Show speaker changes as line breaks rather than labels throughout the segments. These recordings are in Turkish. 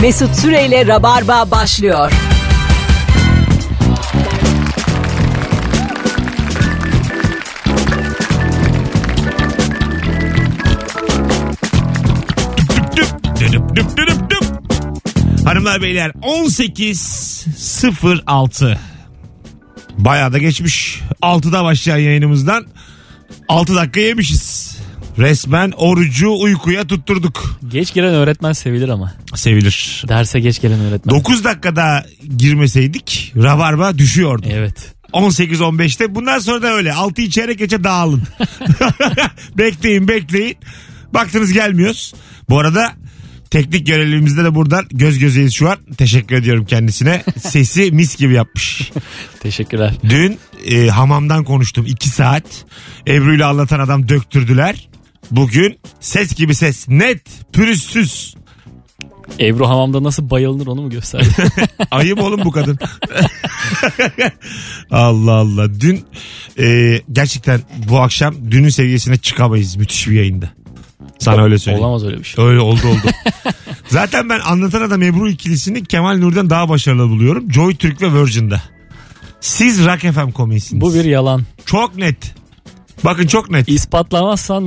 Mesut Süreyle Rabarba başlıyor.
Düp, düdüp, düp, düdüp, düp. Hanımlar beyler 18.06 Bayağı da geçmiş. 6'da başlayan yayınımızdan 6 dakika yemişiz. Resmen orucu uykuya tutturduk.
Geç gelen öğretmen sevilir ama.
Sevilir.
Derse geç gelen öğretmen.
9 dakikada girmeseydik rabarba düşüyordu.
evet.
18-15'te. Bundan sonra da öyle. 6'yı çeyrek geçe dağılın. bekleyin bekleyin. Baktınız gelmiyoruz. Bu arada teknik görevlimizde de buradan göz gözeyiz şu an. Teşekkür ediyorum kendisine. Sesi mis gibi yapmış.
Teşekkürler.
Dün e, hamamdan konuştum 2 saat. Ebru'yla anlatan adam döktürdüler. Bugün ses gibi ses net pürüzsüz.
Ebru hamamda nasıl bayılınır onu mu gösterdi?
Ayıp oğlum bu kadın. Allah Allah. Dün e, gerçekten bu akşam dünün seviyesine çıkamayız müthiş bir yayında. Sana öyle söyleyeyim.
Olamaz öyle bir şey.
Öyle oldu oldu. Zaten ben anlatan adam Ebru ikilisini Kemal Nur'dan daha başarılı buluyorum. Joy Türk ve Virgin'da. Siz Rock FM komiksiniz.
Bu bir yalan.
Çok net. Bakın çok net.
İspatlamazsan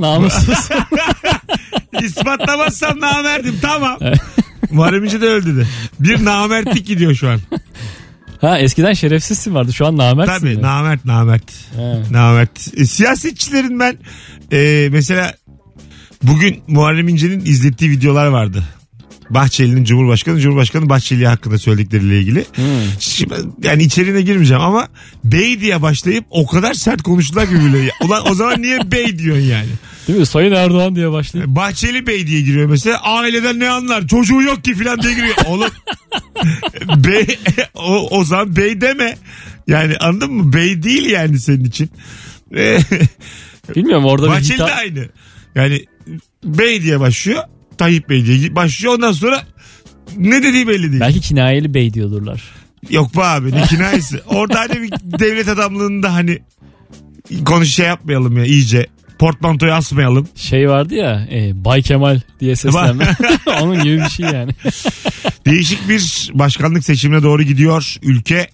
namussuz.
İspatlamazsan namerdim tamam. Muharrem İnce de öldü de. Bir namertlik gidiyor şu an.
ha eskiden şerefsizsin vardı şu an namertsin.
Tabii
diyor.
namert namert.
He.
Namert. E, siyasetçilerin ben e, mesela bugün Muharrem İnce'nin izlettiği videolar vardı. Bahçeli'nin Cumhurbaşkanı, Cumhurbaşkanı Bahçeli hakkında söyledikleriyle ilgili. Şimdi, yani içeriğine girmeyeceğim ama bey diye başlayıp o kadar sert konuştular ki birbirleri. Ulan o zaman niye bey diyorsun yani?
Değil mi? Sayın Erdoğan diye başlayıp.
Bahçeli Bey diye giriyor mesela. Aileden ne anlar? Çocuğu yok ki filan diye giriyor. Oğlum bey, o, o zaman bey deme. Yani anladın mı? Bey değil yani senin için. Ee,
Bilmiyorum orada bir
Bahçeli de
hitap.
aynı. Yani bey diye başlıyor. Tayyip Bey diye başlıyor. Ondan sonra ne dediği belli değil.
Belki kinayeli bey diyordurlar.
Yok be abi ne kinayesi. Orada hani bir devlet adamlığında hani konuş şey yapmayalım ya iyice. Portmantoyu asmayalım.
Şey vardı ya e, Bay Kemal diye seslenme. Onun gibi bir şey yani.
Değişik bir başkanlık seçimine doğru gidiyor ülke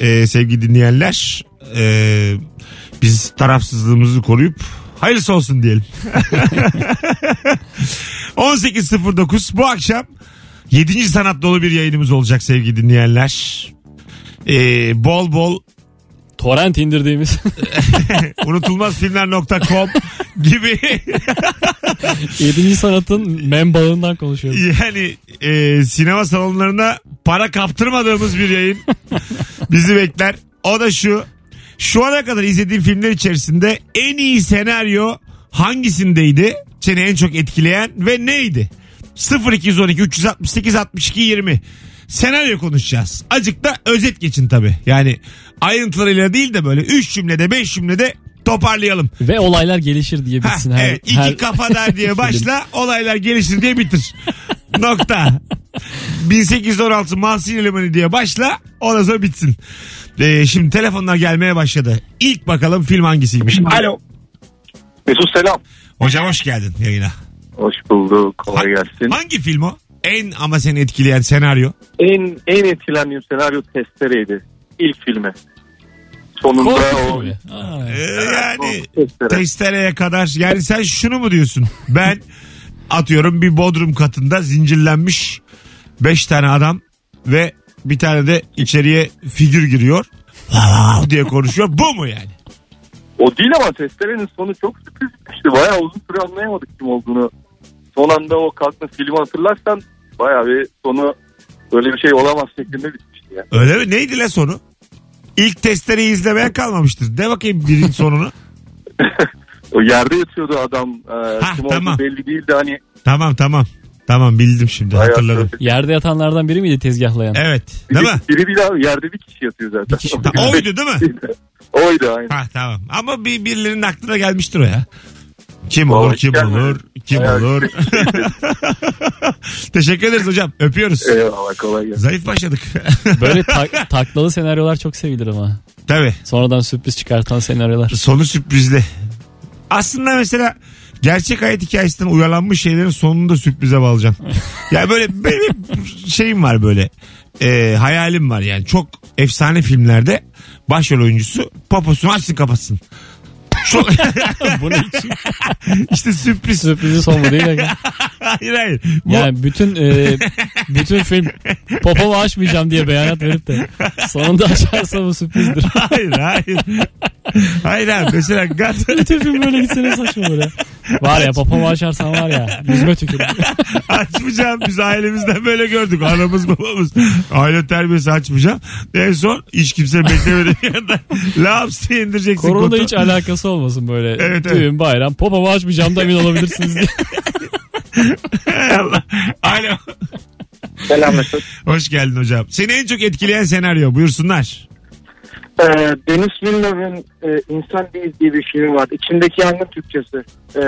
Ee, sevgili dinleyenler. ee, biz tarafsızlığımızı koruyup hayırlısı olsun diyelim. 18.09 bu akşam 7. sanat dolu bir yayınımız olacak sevgili dinleyenler. Ee, bol bol
Torrent indirdiğimiz
unutulmazfilmler.com gibi
7. sanatın menbaından konuşuyoruz.
Yani e, sinema salonlarına para kaptırmadığımız bir yayın bizi bekler. O da şu. Şu ana kadar izlediğim filmler içerisinde en iyi senaryo hangisindeydi? Seni en çok etkileyen ve neydi? 0212 368 62 20 senaryo konuşacağız. Azıcık da özet geçin tabii. Yani ayrıntılarıyla değil de böyle 3 cümlede 5 cümlede toparlayalım.
Ve olaylar gelişir diye
Heh,
bitsin. her,
evet, iki
her-
kafadar diye başla olaylar gelişir diye bitir. Nokta. 1816 Mahsin Elemeni diye başla ondan sonra bitsin. Ee, şimdi telefonlar gelmeye başladı. İlk bakalım film hangisiymiş. Alo.
Mesut selam.
Hocam hoş geldin yayına.
Hoş bulduk. Kolay gelsin.
Hangi film o? En ama seni etkileyen senaryo.
En en etkilendiğim senaryo testereydi. İlk filme. Sonunda
Korku
o
filmi. Aa,
Ee, yani
testere.
testereye kadar yani sen şunu mu diyorsun? Ben atıyorum bir bodrum katında zincirlenmiş 5 tane adam ve bir tane de içeriye figür giriyor. Vav diye konuşuyor. Bu mu yani?
O değil ama testerenin sonu çok sürpriz bitmişti. Bayağı uzun süre anlayamadık kim olduğunu. Son anda o kalktı filmi hatırlarsan bayağı bir sonu böyle bir şey olamaz şeklinde bitmişti ya.
Öyle mi? Neydi la sonu? İlk testereyi izlemeye kalmamıştır. De bakayım birin sonunu.
O yerde yatıyordu adam. Ee,
Hah,
kim
tamam.
olduğu belli değildi hani.
tamam tamam. Tamam bildim şimdi
bayağı
hatırladım.
sürpriz.
Yerde yatanlardan biri miydi tezgahlayan?
Evet.
Biri,
Değil mi?
biri bir daha yerde bir kişi yatıyor zaten.
Bir kişi.
Ha, Oydu değil mi?
Oydu aynen.
Ha tamam. Ama bir birilerinin aklına gelmiştir o ya. Kim
Vallahi
olur, kim
gelmedi.
olur, kim
Bayağı
olur. Teşekkür ederiz hocam. Öpüyoruz.
Eyvallah kolay gelsin.
Zayıf başladık.
Böyle tak- taklalı senaryolar çok sevilir ama.
Tabii.
Sonradan sürpriz çıkartan senaryolar.
Sonu sürprizli. Aslında mesela Gerçek hayat hikayesinden uyarlanmış şeylerin sonunu da sürprize bağlayacağım. ya böyle benim şeyim var böyle. Ee, hayalim var yani. Çok efsane filmlerde başrol oyuncusu poposunu açsın kapatsın. Çok,
Bu ne için?
işte sürpriz.
Sürprizi son mu değil. mi?
hayır hayır. Bu-
Yani bütün e, bütün film popomu açmayacağım diye beyanat verip de sonunda açarsa bu sürprizdir.
Hayır hayır. hayır abi mesela Gat-
bütün film böyle gitse ne saçma olur ya. Var ya popomu açarsan var ya yüzme tükür.
açmayacağım biz ailemizden böyle gördük. Anamız babamız aile terbiyesi açmayacağım. En son hiç kimse beklemedi. Laps diye indireceksin.
Korona
kotu.
hiç alakası olmasın böyle.
Evet,
Düğün bayram popomu açmayacağım da emin olabilirsiniz diye.
Hay Allah. Alo.
Selam Mesut.
Hoş geldin hocam. Seni en çok etkileyen senaryo buyursunlar.
Ee, Deniz Villeneuve'ın e, İnsan Değil diye bir şiiri var. İçimdeki yangın Türkçesi. Ee,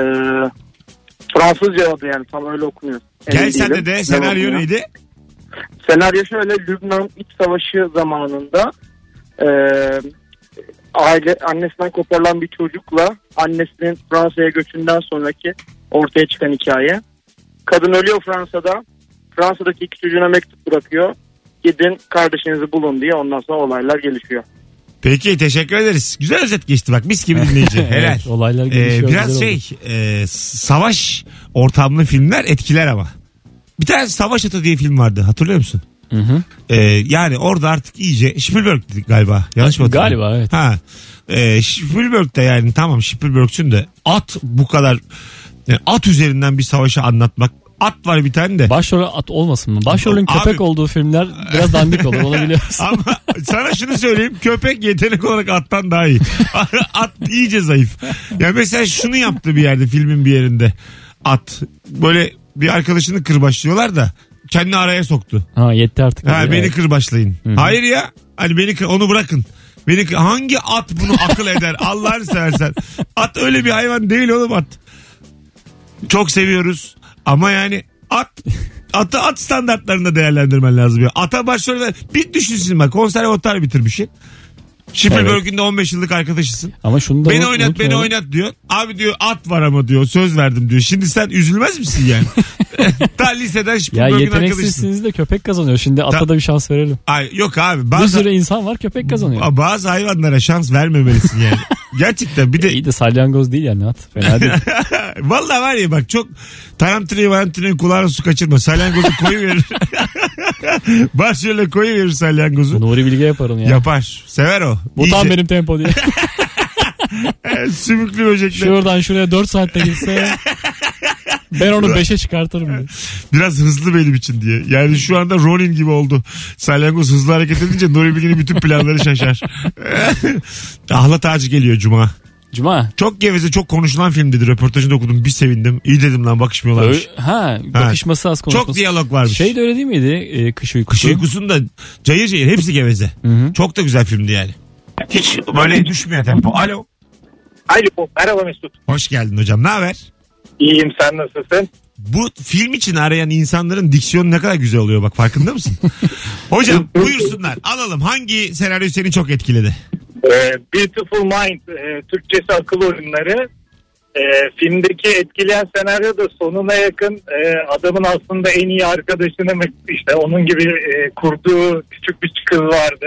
Fransızca adı yani tam öyle okunuyor. Emin
Gel sen de
değilim.
de
Ne
senaryo
okunuyor?
neydi?
Senaryo şöyle Lübnan iç savaşı zamanında e, aile annesinden koparılan bir çocukla annesinin Fransa'ya göçünden sonraki ortaya çıkan hikaye. Kadın ölüyor Fransa'da. Fransa'daki iki çocuğuna mektup bırakıyor. Gidin kardeşinizi bulun diye ondan sonra olaylar gelişiyor.
Peki teşekkür ederiz. Güzel özet geçti bak mis gibi dinleyici. Helal.
Evet, olaylar
Ee,
gelişiyor.
biraz
güzel oldu.
şey e, savaş ortamlı filmler etkiler ama. Bir tane Savaş Atı diye film vardı hatırlıyor musun?
Hı hı.
Ee, yani orada artık iyice Spielberg galiba. Yanlış mı hatırlıyorum?
Galiba evet.
Ha. Ee, Spielberg'de yani tamam Spielberg'sün de at bu kadar yani at üzerinden bir savaşı anlatmak. At var bir tane de.
Başrol at olmasın mı? Başrolün
Abi-
köpek olduğu filmler biraz dandik olur onu biliyoruz.
Ama sana şunu söyleyeyim köpek yetenek olarak attan daha iyi. at iyice zayıf. Ya mesela şunu yaptı bir yerde filmin bir yerinde. At böyle bir arkadaşını kırbaçlıyorlar da kendini araya soktu.
Ha yetti artık.
Ha,
Evet.
beni kırbaçlayın. Hayır ya. Hani beni kır- onu bırakın. Beni kır- hangi at bunu akıl eder? Allah'ını seversen. At öyle bir hayvan değil oğlum at. Çok seviyoruz ama yani at atı at standartlarında değerlendirmen lazım ya. Ata başrol ver. Bir düşünsün bak konservatuar bitirmişsin. Spielberg'ün de 15 yıllık arkadaşısın.
Ama şunu da
beni
unut-
oynat beni
unutmayalım.
oynat diyor. Abi diyor at var ama diyor söz verdim diyor. Şimdi sen üzülmez misin yani? Ta liseden
Ya
Spielberg'ün arkadaşısın.
yeteneksizsiniz de köpek kazanıyor. Şimdi ata da bir şans verelim.
Ay, yok abi.
Bir
Bazen...
sürü insan var köpek kazanıyor.
Ama Bazı hayvanlara şans vermemelisin yani. Gerçekten bir de
İyi de salyangoz değil yani at. Fena değil.
vallahi var ya bak çok tarantinayı varantinayı kulağına su kaçırma. Salyangozu koyuverir. Başrolüne koyuverir salyangozu.
Nuri Bilge yaparım ya.
Yapar. Sever o.
Bu tam
İyice.
benim tempo diye.
Sümüklü böcekler.
Şuradan şuraya 4 saatte gitse ben onu 5'e çıkartırım diye.
Biraz hızlı benim için diye. Yani şu anda Ronin gibi oldu. Salyangoz hızlı hareket edince Nuri Bilge'nin bütün planları şaşar. Ahlat ağacı geliyor Cuma.
Cuma.
Çok geveze çok konuşulan film dedi. Röportajını okudum. Bir sevindim. İyi dedim lan bakışmıyorlarmış.
Ö- ha bakışması az konuşması.
Çok diyalog varmış.
Şey de öyle değil miydi? Ee, kış uykusu.
Kış uykusunun da cayır cayır hepsi geveze. Çok da güzel filmdi yani. Hiç böyle düşmüyor tempo. Alo.
Alo merhaba Mesut.
Hoş geldin hocam. Ne haber?
İyiyim sen nasılsın?
Bu film için arayan insanların diksiyonu ne kadar güzel oluyor bak farkında mısın? hocam buyursunlar alalım hangi senaryo seni çok etkiledi?
Ee, Beautiful Mind e, Türkçesi akıl oyunları. E, filmdeki etkileyen senaryo da sonuna yakın e, adamın aslında en iyi arkadaşını mı- işte onun gibi e, kurduğu küçük bir kız vardı.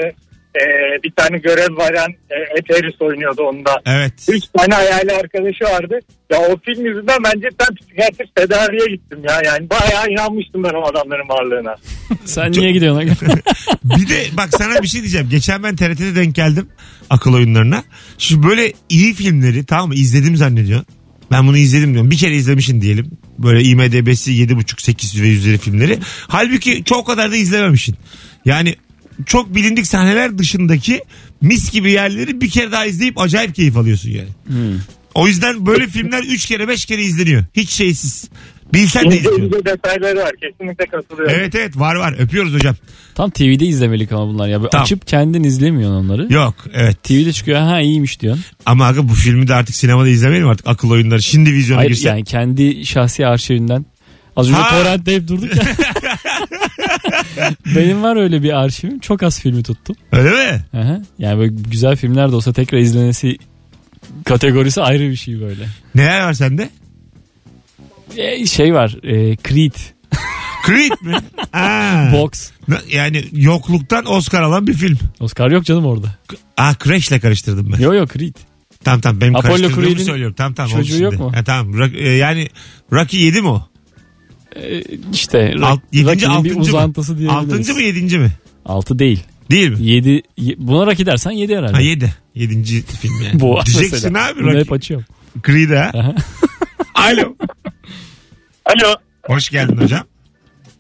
E, bir tane görev veren e, Ed Harris oynuyordu onda.
Evet.
Üç tane hayali arkadaşı vardı. Ya o film yüzünden bence ben psikiyatrist tedaviye gittim ya. Yani bayağı inanmıştım ben o adamların varlığına.
Sen niye gidiyorsun?
Bir de bak sana bir şey diyeceğim. Geçen ben TRT'de denk geldim akıl oyunlarına. Şu böyle iyi filmleri tamam mı izledim zannediyorsun. Ben bunu izledim diyorum. Bir kere izlemişsin diyelim. Böyle IMDB'si 7.5 8 ve üzeri filmleri. Halbuki çok kadar da izlememişsin. Yani çok bilindik sahneler dışındaki mis gibi yerleri bir kere daha izleyip acayip keyif alıyorsun yani. O yüzden böyle filmler 3 kere 5 kere izleniyor. Hiç şeysiz. Bilsen de
İnce
izliyorsun.
ince detayları var. Kesinlikle katılıyorum.
Evet evet var var öpüyoruz hocam.
Tam TV'de izlemelik ama bunlar ya. Böyle
Tam.
Açıp kendin izlemiyorsun onları.
Yok evet.
TV'de çıkıyor ha iyiymiş diyorsun.
Ama aga bu filmi de artık sinemada izlemeyelim artık akıl oyunları. Şimdi vizyona
Hayır
girse.
yani kendi şahsi arşivinden. Az önce
Ha!
torrentte hep durduk ya. Benim var öyle bir arşivim. Çok az filmi tuttum.
Öyle mi?
Hı hı. Yani böyle güzel filmler de olsa tekrar izlenesi kategorisi ayrı bir şey böyle.
Neler var sende?
e, şey var. E, Creed.
Creed mi? Ha.
Box.
Na- Yani yokluktan Oscar alan bir film.
Oscar yok canım orada.
Ah Crash'le karıştırdım ben.
Yo yo Creed.
Tamam tamam benim
Apollo
karıştırdığımı
Creed'in
söylüyorum. Tamam tamam. oldu
çocuğu yok
şimdi.
mu?
Ha, tamam. Rock- e, yani Rocky 7 mi o?
E, işte
Alt- yedinci,
Rocky'nin bir
altıncı mı?
uzantısı diyebiliriz.
6. mı 7. mi?
6 değil.
Değil mi?
7 buna Rocky dersen 7 herhalde.
Ha 7. 7. film yani.
Bu
Diyeceksin
mesela.
abi
Bunu hep
Rocky.
açıyorum.
Creed'e ha.
Aha.
Alo.
Alo.
Hoş geldin hocam.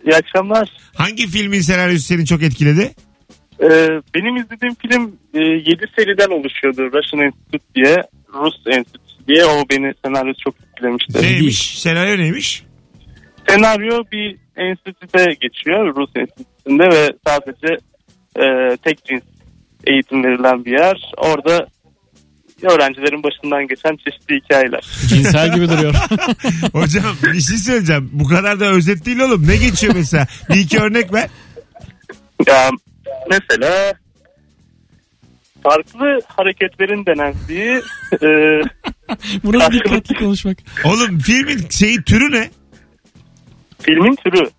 İyi akşamlar.
Hangi filmin senaryosu seni çok etkiledi?
Ee, benim izlediğim film 7 seriden oluşuyordu. Russian Institute diye. Rus Enstitüsü diye. O beni senaryosu çok etkilemişti.
Şey-
Neymiş? Senaryo neymiş?
Senaryo bir enstitüde geçiyor. Rus enstitüsünde ve sadece e, tek cins eğitim verilen bir yer. Orada öğrencilerin başından geçen çeşitli hikayeler.
Cinsel gibi duruyor.
Hocam bir şey söyleyeceğim. Bu kadar da özet değil oğlum. Ne geçiyor mesela? Bir iki örnek ver.
Ya, mesela farklı hareketlerin denendiği e,
Burada dikkatli konuşmak.
Oğlum filmin şeyi türü ne?
filmin türü.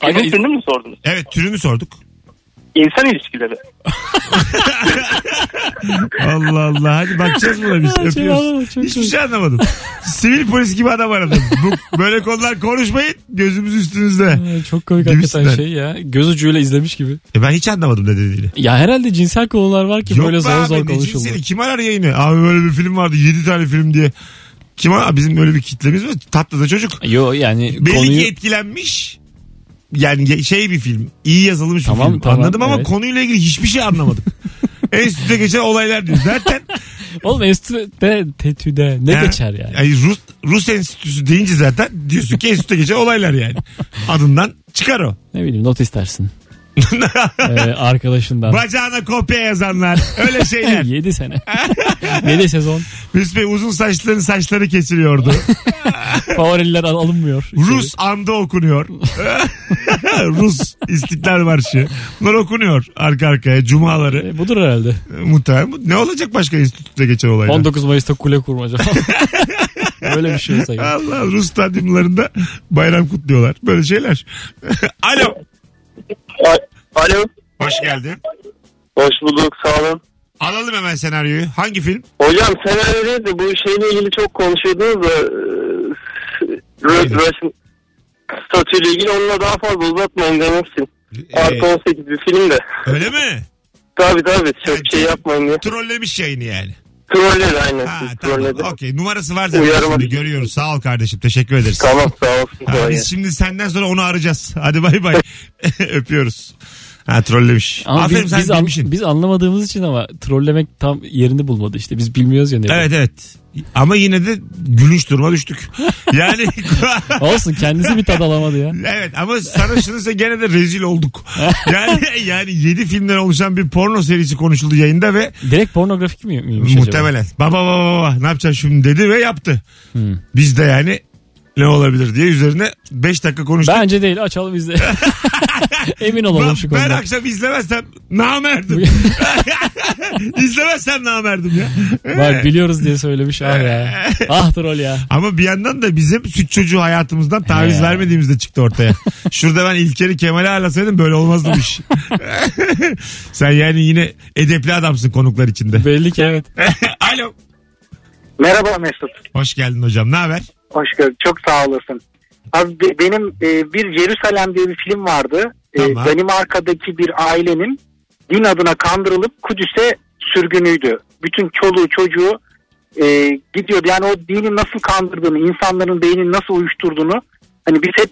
Aga,
Filmin türünü mü sordunuz?
Evet türünü sorduk.
İnsan ilişkileri.
Allah Allah. Hadi bakacağız buna biz.
Şey anlamadım,
Öpüyoruz.
çok
Hiçbir
güzel.
şey anlamadım. Sivil polis gibi adam aradım. Bu, böyle konular konuşmayın. Gözümüz üstünüzde.
Ay, Çok komik
Gibisinden.
hakikaten şey ya. Göz ucuyla izlemiş gibi.
E ben hiç anlamadım ne dediğini.
Ya herhalde cinsel konular var ki böyle
be
zor zor
ne
konuşuldu.
cinseli? Kim arar yayını? Abi böyle bir film vardı. 7 tane film diye. Kim arar? Bizim böyle bir kitlemiz var. Tatlı da çocuk.
Yo yani
Belli
konuyu
ki etkilenmiş. Yani ge- şey bir film. iyi yazılmış bir
Tamam,
film.
tamam,
Anladım ama
evet.
konuyla ilgili hiçbir şey anlamadım. Enstitüde geçen olaylar diyor. Zaten
Oğlum enstitüde, tetüde ne
Ha?
geçer yani?
Ay, Rus, Rus enstitüsü deyince zaten diyorsun ki enstitüde geçen olaylar yani. Adından çıkar o.
Ne bileyim not istersin. Ee, arkadaşından.
Bacağına kopya yazanlar. Öyle şeyler.
7 sene. 7 sezon.
Rus Bey uzun saçların saçları kesiliyordu.
Favoriler al- alınmıyor. içeri.
Rus anda okunuyor. Rus İstiklal Marşı. Bunlar okunuyor arka arkaya cumaları.
E, budur herhalde.
Muhtemelen. bu- Ne olacak başka enstitüde geçen olaylar?
19 Mayıs'ta kule kurmaca falan. Öyle bir şey olsa gerek.
Allah Rus stadyumlarında bayram kutluyorlar. Böyle şeyler. Alo.
Alo.
Hoş geldin.
Hoş bulduk sağ olun.
Alalım hemen senaryoyu. Hangi film?
Hocam senaryo neydi? Bu şeyle ilgili çok konuşuyordunuz da e,
Neydi?
Russian statüyle ilgili onunla daha fazla uzatmayın demişsin. Artı
Ee,
18 bir film de.
öyle mi?
Tabii tabii çok
Yani
şey yapmayın ya.
Trollemiş yayını yani.
Troller aynen.
Ha, tamam.
Trolledi.
Okey. Numarası var zaten.
Uyarı var.
Şimdi görüyoruz. Sağ ol kardeşim. Teşekkür ederiz.
Tamam sağ olsun.
Ha,
kolay
biz
gelsin.
şimdi senden sonra onu arayacağız. Hadi bay bay. Öpüyoruz. Ha trollemiş.
Ama
Aferin
biz,
sen
biz, an-
bilmişsin.
biz anlamadığımız için ama trollemek tam yerini bulmadı işte. Biz bilmiyoruz ya ne.
Evet evet. Ama yine de gülünç duruma düştük. Yani
Olsun kendisi bir tad alamadı ya.
Evet ama sana şunu söyleyeyim, gene de rezil olduk. Yani yani 7 filmden oluşan bir porno serisi konuşuldu yayında ve
Direkt pornografik mi miymiş acaba?
muhtemelen baba baba baba ne yapacaksın şimdi dedi ve yaptı. Biz de yani ne olabilir diye üzerine 5 dakika konuştuk.
Bence değil açalım izle. Emin olalım
Ben-
şu
ben
konuda.
akşam izlemezsem namerdim. izlemezsem namerdim ya.
Bak biliyoruz diye söylemiş ah ya. Ah troll ya.
Ama bir yandan da bizim süt çocuğu hayatımızdan taviz
He.
vermediğimiz de çıktı ortaya. Şurada ben İlker'i Kemal'e ağırlasaydım böyle olmazdı bu iş. Sen yani yine edepli adamsın konuklar içinde.
Belli ki evet.
Alo.
Merhaba Mesut.
Hoş geldin hocam. Ne haber?
Hoş gördük. Çok sağ olasın. Abi be- benim e, bir Jerusalem diye bir film vardı. E,
Tamam.
Danimarka'daki bir ailenin din adına kandırılıp Kudüs'e sürgünüydü. Bütün çoluğu çocuğu e, gidiyordu. Yani o dini nasıl kandırdığını, insanların beynini nasıl uyuşturduğunu hani biz hep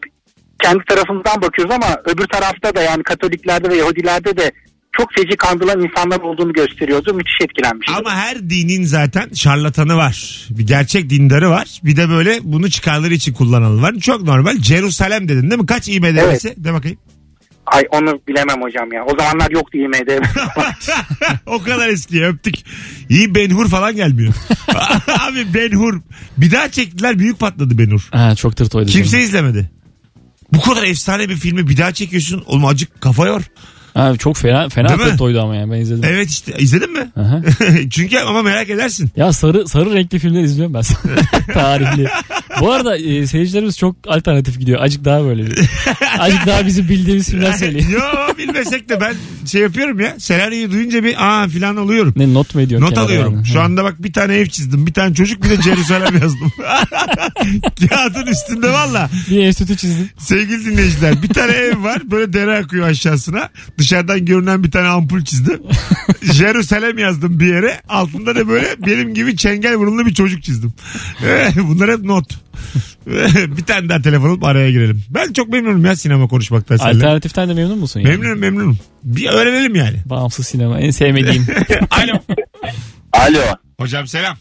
kendi tarafımızdan bakıyoruz ama öbür tarafta da yani Katoliklerde ve Yahudilerde de çok feci kandırılan insanlar olduğunu gösteriyordu. Müthiş etkilenmiştim.
Ama her dinin zaten şarlatanı var. Bir gerçek dindarı var. Bir de böyle bunu çıkarları için kullananı var. Çok normal. Jerusalem dedin değil mi? Kaç IMDB'si? De bakayım.
Ay onu bilemem hocam ya. O zamanlar yoktu IMDB.
o kadar eski öptük. İyi Benhur falan gelmiyor. Abi Benhur. Bir daha çektiler büyük patladı Benhur.
Ha, çok tırt oydu.
Kimse izlemedi. Bu kadar efsane bir filmi bir daha çekiyorsun. Oğlum acık kafa yor.
Ha, çok fena fena
Değil mi?
tırt oydu ama yani ben izledim.
Evet işte izledin mi?
Aha.
Çünkü ama merak edersin.
Ya sarı sarı renkli filmler izliyorum ben. Tarihli. Bu arada e, seyircilerimiz çok alternatif gidiyor. Acık daha böyle bir. Acık daha bizi bildiğimiz filmler söyleyin.
Yo bilmesek de ben şey yapıyorum ya. Senaryoyu duyunca bir aa filan alıyorum.
Ne not mu ediyorsun?
Not
kenara
alıyorum.
yani?
Şu anda bak bir tane ev çizdim. Bir tane çocuk bir de Jerusalem yazdım. Kağıdın üstünde valla.
Bir enstitü çizdim.
Sevgili dinleyiciler bir tane ev var. Böyle dere akıyor aşağısına. Dışarıdan görünen bir tane ampul çizdim. Jerusalem yazdım bir yere. Altında da böyle benim gibi çengel burunlu bir çocuk çizdim. Bunlar hep not. bir tane daha telefon alıp araya girelim. Ben çok memnunum ya sinema konuşmaktan seninle.
Alternatiften de memnun musun? yani?
Memnunum memnunum. Bir öğrenelim yani.
Bağımsız sinema en sevmediğim.
Alo.
Alo.
Hocam selam.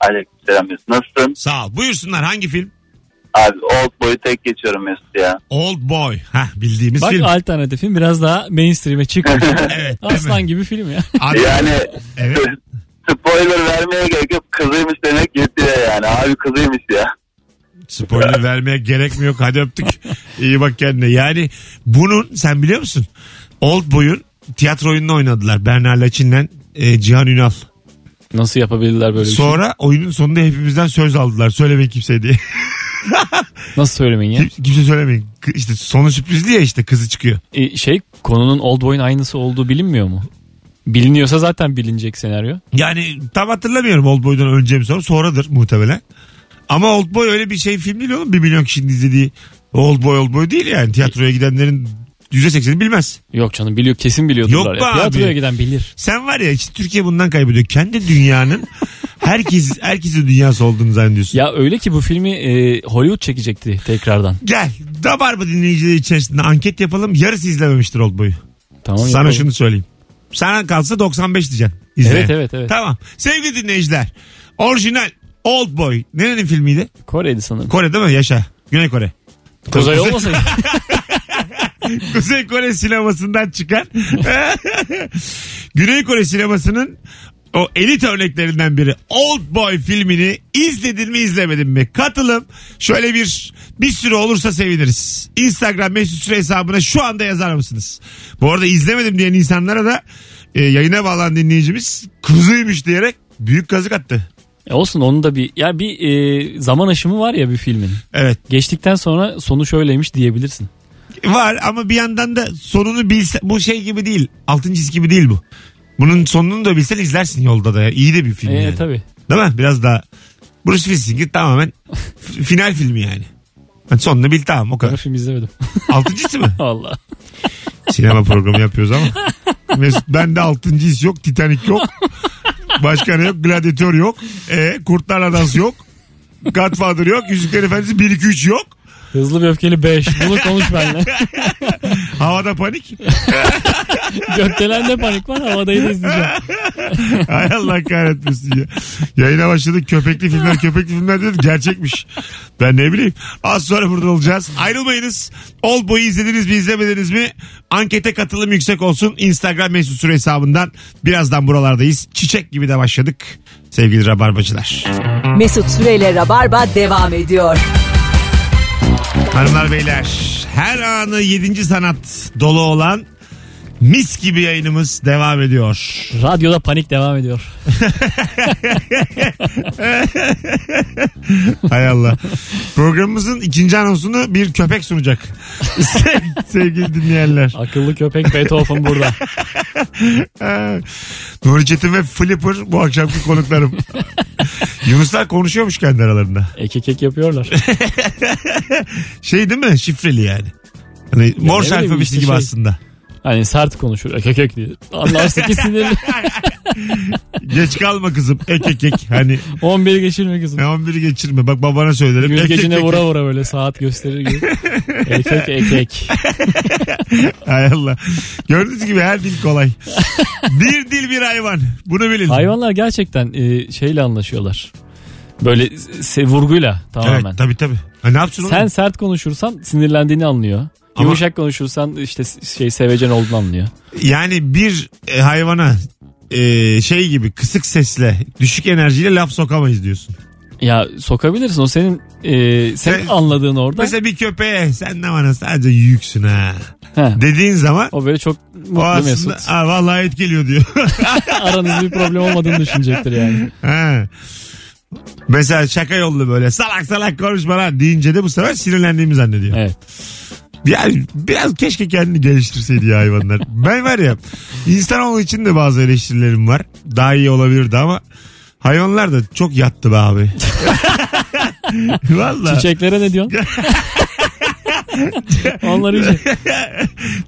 Aleyküm selam Mesut. Nasılsın?
Sağ ol. Buyursunlar hangi film?
Abi Old Boy'u tek geçiyorum Mesut ya.
Old Boy. Hah bildiğimiz
Bak
film.
alternatifin biraz daha mainstream'e çıkmış.
evet. değil mi?
Aslan gibi film ya.
Abi-
Yani
Evet.
spoiler vermeye gerek yok. Kızıymış demek yetiyor yani. Abi kızıymış ya.
Spoiler vermeye gerek mi yok? Hadi öptük. İyi bak kendine. Yani bunun sen biliyor musun? Old Boy'un tiyatro oyununu oynadılar. Berna Laçin'le e, Cihan Ünal.
Nasıl yapabildiler böyle bir şey?
Sonra oyunun sonunda hepimizden söz aldılar. Söylemeyin kimseye diye.
Nasıl söylemeyin ya?
Kim- kimse söylemeyin. K- İşte sonu sürprizli ya işte kızı çıkıyor.
E, şey konunun old boy'un aynısı olduğu bilinmiyor mu? Biliniyorsa zaten bilinecek senaryo.
Yani tam hatırlamıyorum Old Boy'dan önce mi sonra sonradır muhtemelen. Ama Old Boy öyle bir şey film değil oğlum. Bir milyon kişinin izlediği Old Boy Old Boy değil yani. Tiyatroya gidenlerin %80'i bilmez.
Yok canım biliyor kesin
Yok
biliyordurlar.
be
ya. Tiyatroya
abi.
giden bilir.
Sen var ya işte Türkiye bundan kaybediyor. Kendi dünyanın herkes herkesin dünyası olduğunu zannediyorsun.
Ya öyle ki bu filmi e, Hollywood çekecekti tekrardan.
Gel dabar mı dinleyicileri içerisinde anket yapalım. Yarısı izlememiştir Oldboy'u.
Tamam.
Sana
yapalım.
şunu söyleyeyim. Sana kalsa 95 diyeceksin. izleyen.
Evet evet evet.
Tamam. Sevgili dinleyiciler. Orijinal Oldboy. Nerenin filmiydi?
Kore'ydi sanırım.
Kore değil mi? Yaşa. Güney Kore.
Kuzey olmasaydı.
Kuzey Kore sinemasından çıkan Güney Kore sinemasının o elit örneklerinden biri Old Boy filmini izledin mi izlemedin mi? Katılım şöyle bir bir sürü olursa seviniriz. Instagram mesut süre hesabına şu anda yazar mısınız? Bu arada izlemedim diyen insanlara da e, yayına bağlanan dinleyicimiz kuzuymuş diyerek büyük kazık attı.
E, olsun onun da bir ya bir e, zaman aşımı var ya bir filmin.
Evet
Geçtikten sonra sonu şöyleymiş diyebilirsin. E,
var ama bir yandan da sonunu bilse bu şey gibi değil. Altın çizgi gibi değil bu. Bunun sonunu da bilsen izlersin yolda da. Yani. İyi de bir film.
E,
yani.
tabii.
Değil mi? Biraz daha Bruce Willis'inki tamamen f- final filmi yani. Yani sonunu bil tamam o
Ben
kadar.
film izlemedim.
Altıncısı mı?
Valla.
Sinema programı yapıyoruz ama. Mesut bende altıncı his yok. Titanic yok. Başka ne yok? Gladiator yok. E, Kurtlarla Dans yok. Godfather yok. Yüzükler Efendisi 1-2-3 yok.
Hızlı ve öfkeli 5. Bunu konuş benimle.
Havada panik.
Gökdelen de panik var havadayı da izleyeceğim.
Hay Allah kahretmesin ya. Yayına başladık köpekli filmler köpekli filmler dedim gerçekmiş. Ben ne bileyim. Az sonra burada olacağız. Ayrılmayınız. Old Boy'u izlediniz mi izlemediniz mi? Ankete katılım yüksek olsun. Instagram mesut süre hesabından birazdan buralardayız. Çiçek gibi de başladık sevgili rabarbacılar.
Mesut Süreyle Rabarba devam ediyor.
Hanımlar beyler her anı 7. sanat dolu olan mis gibi yayınımız devam ediyor.
Radyoda panik devam ediyor.
Hay Allah. Programımızın ikinci anonsunu bir köpek sunacak. Se- Sevgili dinleyenler.
Akıllı köpek Beethoven burada.
Ha. Nuri Çetin ve Flipper bu akşamki konuklarım. Yunuslar konuşuyormuş kendi aralarında.
Ekek ek yapıyorlar.
Şey değil mi? Şifreli yani. Hani Morse
bileyim
alfabesi
işte
gibi
şey.
aslında.
Hani sert konuşur ekek ek diye. Anlarsın ki sinirli.
Geç kalma kızım. Ek ek ek. Hani
11 geçirmek kızım.
11'i geçirme. Bak babana söylerim. Ek, ek,
Yüzgecine
ek, ek.
vura vura böyle saat gösterir gibi. ekek ekek.
Hay Allah. Gördüğünüz gibi her dil kolay. bir dil bir hayvan. Bunu bilin.
Hayvanlar gerçekten e, şeyle anlaşıyorlar. Böyle se- vurguyla
Evet
tamamen.
tabii tabii. Ha, ne yapsın
Sen
oğlum?
sert konuşursan sinirlendiğini anlıyor.
Ama-
Yumuşak konuşursan işte şey sevecen olduğunu anlıyor.
Yani bir e, hayvana e, şey gibi kısık sesle düşük enerjiyle laf sokamayız diyorsun.
Ya sokabilirsin o senin e, senin
Sen-
anladığın orada.
Mesela bir köpeğe sen de bana sadece yüksün ha
He.
dediğin zaman
O böyle çok
o
mutlu
aslında
mesut.
"Aa, vallahi et geliyor diyor.
Aranızda bir problem olmadığını düşünecektir yani.
ha. Mesela şaka yollu böyle salak salak konuşma lan deyince de bu sefer sinirlendiğimi zannediyor.
Evet.
Yani biraz keşke kendini geliştirseydi ya hayvanlar. ben var ya insanoğlu için de bazı eleştirilerim var. Daha iyi olabilirdi ama hayvanlar da çok yattı be abi. Valla.
Çiçeklere ne diyorsun? Onlar iyice